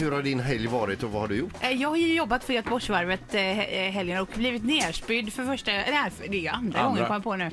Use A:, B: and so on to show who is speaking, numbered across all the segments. A: hur har din helg varit och vad har du gjort?
B: Eh, Jag har ju jobbat för Göteborgsvarvet eh, he- eh, helgen och blivit nerspydd för första, nej för- det är ju andra,
C: Andra.
B: gången kom jag på nu.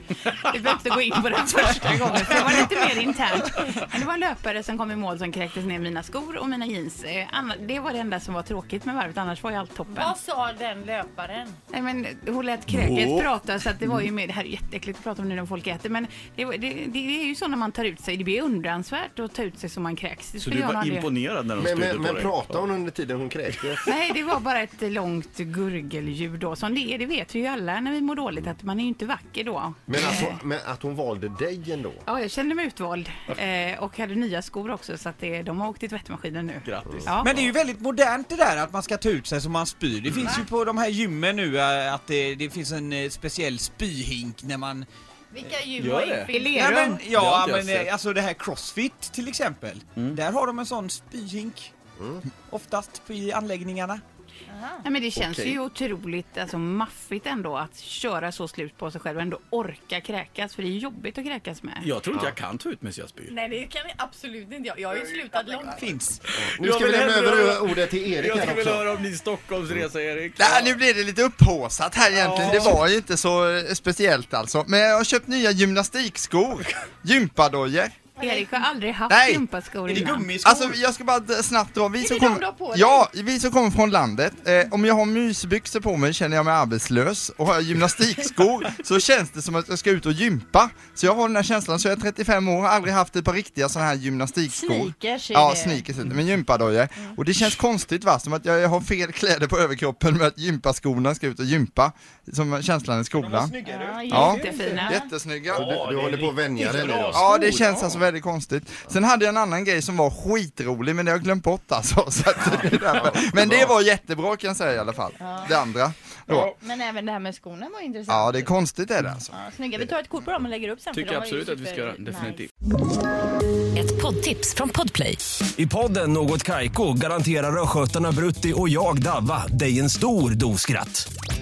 B: Vi behöver inte gå in på den första gången för det var lite mer internt. Men det var en löpare som kom i mål som kräktes ner mina skor och mina jeans. Eh, anna- Det var det enda som var tråkigt med varvet, annars var ju allt toppen.
D: Vad sa den löparen?
B: Nej men hon lät kräket
C: Åh. Mm.
B: prata så att det var ju mer, det här är jätteäckligt att prata om nu när folk äter men det, var- det, det är ju så när man tar ut sig, det blir undransvärt att ta ut sig som man kräks. Det
C: Så
B: skulle
C: du
B: jag
C: var
B: nog aldrig-
C: imponerad när de
A: Men,
C: spydde
A: men,
C: på
A: men
C: dig?
A: pratade hon under tiden hon kräktes?
B: Nej, det var bara ett långt gurgelljud då. Som det är, det vet vi ju alla när vi mår dåligt att man är ju inte vacker då.
A: Men att, hon, men att hon valde dig ändå?
B: Ja, jag kände mig utvald eh, och hade nya skor också så att det, de har åkt i tvättmaskinen nu.
C: Grattis.
B: Ja.
E: Men det är ju väldigt modernt det där att man ska ta ut sig som man spyr. Det finns ju på de här gymmen nu eh, att det, det finns en eh, speciell spyhink när man...
D: Vilka djur
C: Gör
D: har
C: det?
D: infinit-
E: Ja, men,
C: Det har
E: ja,
C: inte jag
E: men eh,
C: sett. Mm.
E: alltså det här crossfit till exempel. Där har de en sån spyhink. Oftast på- i anläggningarna.
B: Nej, men det känns
A: Okej.
B: ju otroligt alltså, maffigt ändå att köra så slut på sig själv och ändå orka kräkas för det är jobbigt att kräkas med.
C: Jag tror inte jag kan ta ut mig så jag spyr.
D: Nej, det kan jag absolut inte. Jag, jag har ju slutat långt.
E: Finns.
A: Nu
C: Jag
A: ska vi
C: vill
A: lämna
C: hellre
A: över
C: höra-
A: ordet till Erik
C: Jag
A: här
C: skulle vilja
A: också.
C: höra om din Stockholmsresa, Erik.
F: Nej, nu blir det lite upphåsat här egentligen. Det var ju inte så eh, speciellt alltså. Men jag har köpt nya gymnastikskor. Gympadojor.
B: Erik har aldrig haft
F: Nej.
B: gympaskor
E: Är det
B: innan.
E: gummiskor?
F: Alltså jag ska bara eh, snabbt dra, vi
D: det
F: som
D: de
F: kommer...
D: du har på dig?
F: Ja, vi som kommer från landet. Eh, om jag har mysbyxor på mig känner jag mig arbetslös och har jag gymnastikskor så känns det som att jag ska ut och gympa. Så jag har den här känslan, så jag är 35 år, har aldrig haft ett par riktiga sådana här gymnastikskor.
D: Sneakers är
F: Ja,
D: Typ det. Mm.
F: sneakers heter det, men gympadojor. Och det känns konstigt va, som att jag jag har fel kläder på överkroppen med att gympaskorna ska ut och gympa. Som känslan i skolan.
D: Ja,
F: Ja.
B: Jättefina.
F: Jättesnygga.
A: Du, du håller på att vänja dig nu då?
F: Ja, det känns alltså väldigt konstigt. Sen hade jag en annan grej som var skitrolig, men det har jag glömt bort alltså. Så att det är därför. men det var jättebra kan jag säga i alla fall. Det andra. Då.
D: Men även det här med skorna var intressant.
F: Ja, det är konstigt är det alltså.
D: Ja, snygga. Vi tar ett kort på dem och lägger upp sen. för
C: Tycker
D: de
C: jag
D: var ju
C: absolut att vi ska göra,
D: super-
C: definitivt.
G: Ett poddtips från Podplay.
H: I podden Något Kaiko garanterar östgötarna Brutti och jag, Davva, dig en stor dos skratt.